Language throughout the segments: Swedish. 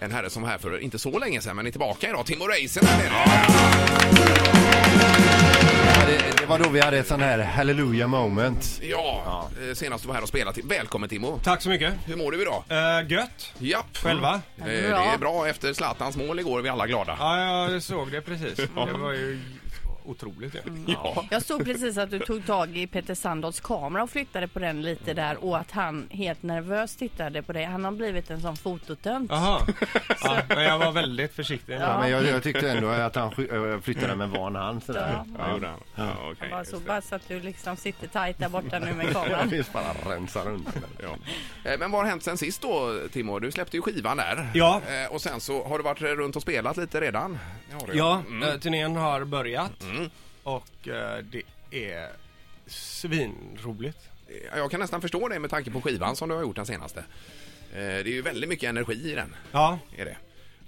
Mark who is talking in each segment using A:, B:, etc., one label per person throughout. A: En herre som var här för inte så länge sedan, men är tillbaka idag. Timo Räisänen är det.
B: Det, det var då vi hade ett sån här hallelujah moment.
A: Ja, eh, senast du var här och spelat. Välkommen Timo!
C: Tack så mycket.
A: Hur mår du idag?
C: Uh, gött.
A: Japp.
C: Själva?
A: Eh, Det
D: Bra.
A: är bra. Efter Zlatans mål igår är vi alla glada.
C: Ja, jag såg det precis. Det var ju otroligt ju.
A: Ja.
D: Jag såg precis att du tog tag i Peter Sandals kamera och flyttade på den lite där och att han helt nervöst tittade på dig. Han har blivit en sån fototönt.
C: Jaha. Ja, men jag var väldigt försiktig.
B: Ja, men jag, jag tyckte ändå att han sky- eh, flyttade med van hand sådär.
D: Ja.
A: Ja, gjorde han. Ja, okej.
D: Bara så, bara så att du liksom sitter tajt där borta nu med
B: Jag
D: kameran.
B: finns bara rensa runt.
A: Ja. Eh, Men vad har hänt sen sist då, Timo? Du släppte ju skivan där.
C: Ja.
A: Eh, Och sen så har du varit runt och spelat lite redan. Det har du.
C: Ja, eh, turnén har börjat och eh, det är svinroligt.
A: Jag kan nästan förstå det med tanke på skivan som du har gjort den senaste. Eh, Det är ju väldigt mycket energi i den.
C: Ja,
A: Är det.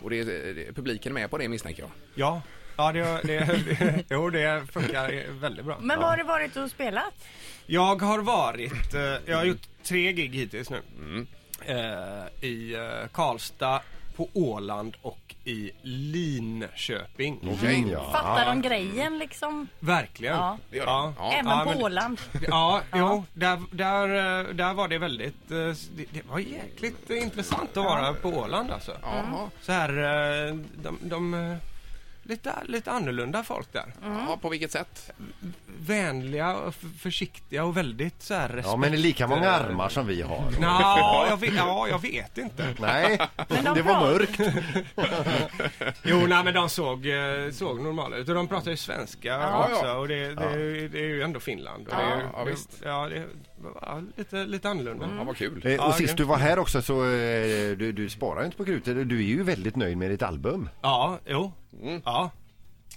A: Och det, det, publiken är med på det misstänker jag.
C: ja. Ja, det, det, det, jo, det funkar väldigt bra.
D: Men vad har det varit och spelat?
C: Jag har varit, eh, jag har gjort tre gig hittills nu. Eh, I eh, Karlstad, på Åland och i Linköping.
A: Okej.
B: Ja.
D: Fattar de grejen liksom?
C: Verkligen.
D: Ja.
A: Det gör ja.
C: Ja.
A: Ja.
D: Även på
C: men-
D: Åland?
C: Ja, jo, där, där, eh, där var det väldigt, eh, det, det var jäkligt eh, intressant att vara på Åland alltså.
A: Jaha.
C: Så här, eh, de, de eh, lite, lite annorlunda folk där.
A: Ja, på vilket sätt?
C: Vänliga, och f- försiktiga och väldigt så här respekt.
B: ja, men det är lika många armar som vi har.
C: Nå, jag vet, ja, jag vet inte.
B: Nej,
D: Men de
B: det var
D: pratar-
B: mörkt. Eh,
C: Jo, nej, men de såg, eh, såg normala ut och de pratar ju svenska
A: Ja,
C: också
A: ja.
C: och det, det, det är ju ändå Finland. Och det, är ju-
A: Ja, ja, visst. Mm.
C: ja, det ja, lite, lite annorlunda.
A: Ja, vad kul.
B: Eh, Och sist du var här också så eh, du, du sparar ju inte på krutet. Du är ju väldigt nöjd med ditt album.
C: Ja, jo.
A: Mm.
C: Ja.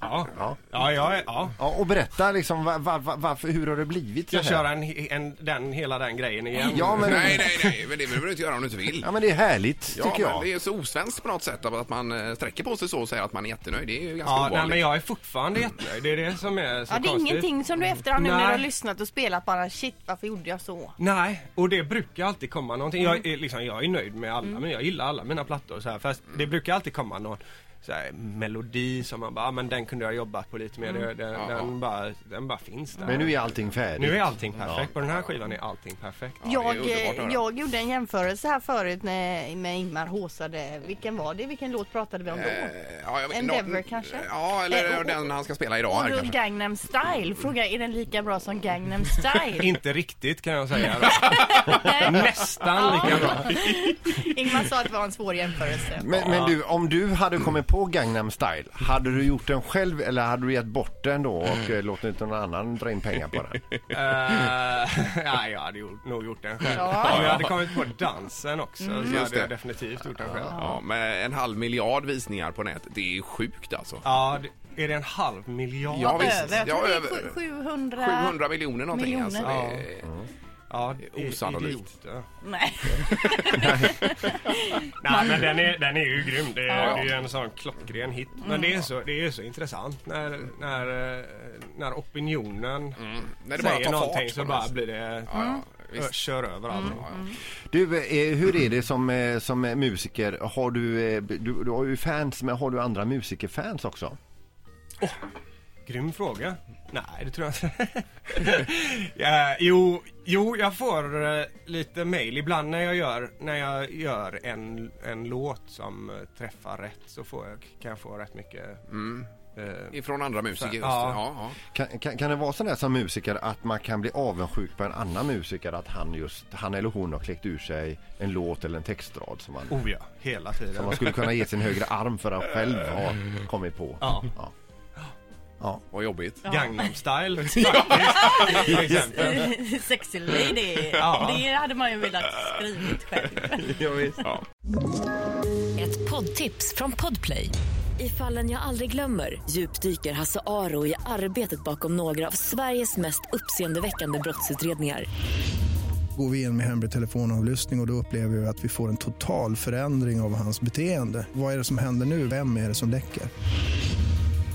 C: Ja.
B: Ja.
C: Ja, jag är- ja.
B: Ja, och berätta liksom va, va, va, varför, hur har det blivit så
C: Ska jag
B: här?
C: köra en, en, den, hela den grejen igen?
B: Ja men,
A: Nej, nej, nej, men det behöver du inte göra om du inte vill.
B: ja, men det är härligt
A: Ja,
B: tycker
A: men
B: jag.
A: det är så osvenskt på något sätt att man eh, sträcker på sig så och säger att man är jättenöjd. Det är ju ganska
C: Ja, nej, men
A: ovanligt.
C: jag är fortfarande jättenöjd. Det är det som är så
D: Ja, det är
C: konstigt.
D: ingenting som du efterhand nu när du har
C: Nej.
D: lyssnat och spelat bara shit varför gjorde jag så?
C: Nej, och det brukar alltid komma någonting. Jag är, liksom, jag är nöjd med alla, men jag gillar alla mina plattor så här. Fast det brukar alltid komma någon så här, melodi som man bara, ah, men den kunde jag ha jobbat på lite mer. Det- Den, den, bara, den bara finns där.
B: Men nu är allting färdigt.
C: Nu är allting perfekt. På den här skivan är allting perfekt.
A: det är
D: jag,
A: underbart att höra.
D: eh, jag gjorde en jämförelse här förut när, med Ingmar håsade. Vilken var det? Vilken låt pratade vi om då?
A: Eh, ja, jag vet-
D: Endeavour
A: nå-
D: kanske?
A: Ja, eller
D: Eh, och-
A: den han ska spela idag
D: och
A: här
D: då
A: kanske.
D: Gangnam style. Fråga är den lika bra som Gangnam style?
C: Inte riktigt kan jag säga. då. Nästan lika bra.
D: Ingmar sa att det var en svår jämförelse.
B: Men, men du, om du hade kommit på Gangnam style, hade du gjort den själv eller hade du gett bort den då och eh, låtit någon annan dra in pengar på den?
C: Eh, ja, jag hade gjort, nog gjort den själv.
D: Ja.
C: Om jag hade kommit på dansen också så
A: Just
C: hade jag
A: det.
C: definitivt gjort den själv. Ja,
A: Ja, med en halv miljard visningar på nätet. Det är sjukt alltså.
C: det, är det en halv miljard?
A: Ja, visst.
D: Över, jag
A: Ja,
D: tror det
A: över.
D: är sju- 700...
A: 700 miljoner någonting
D: Miljoner.
A: alltså. Det,
C: Mm. Ja,
A: är osannolikt.
C: idioter.
D: Nej.
C: Nej, men den är, den är ju grym. Det är,
A: Ja.
C: det är ju en sån klockren hit. Men det är så, det är så intressant när, när, eh, när opinionen
A: När Mm. det bara
C: säger
A: tar
C: någonting
A: fart. på
C: så
A: något
C: bara
A: sätt.
C: blir Mm. det...
A: Ja, ja,
C: ö,
A: visst. Mm.
C: Kör över allting.
A: Ja, ja.
D: Mm.
B: Du, eh, hur är det som, eh, som eh, musiker? Har du, eh, du, du har ju fans, men har du andra musikerfans också?
C: Grym fråga. Nej, det tror jag inte. ja, jo, jo, jag får eh, lite mail ibland när jag gör, när jag gör en, en låt som eh, träffar rätt så får jag, kan jag få rätt mycket.
A: Mm.
C: eh,
A: Ifrån andra musiker. Just.
C: Ja.
A: Ja, ja.
B: Kan, kan, kan det vara sådär som musiker att man kan bli avundsjuk på en annan musiker att han just, han eller hon har kläckt ur sig en låt eller en textrad som man,
C: oh ja, hela
B: som
C: tiden.
B: man skulle kunna ge sin högra arm för att själv har kommit på.
C: Ja.
B: Ja.
A: Vad jobbigt.
C: Gangnam style faktiskt, till exempel.
D: Sexy lady.
C: Ja.
D: Det hade man ju velat skrivit själv.
E: Ett poddtips från Podplay. I fallen jag aldrig glömmer djupdyker Hasse Aro i arbetet bakom några av Sveriges mest uppseendeväckande brottsutredningar.
F: Går vi in med hemlig telefonavlyssning och, och då upplever vi att vi får en total förändring av hans beteende. Vad är det som händer nu? Vem är det som läcker?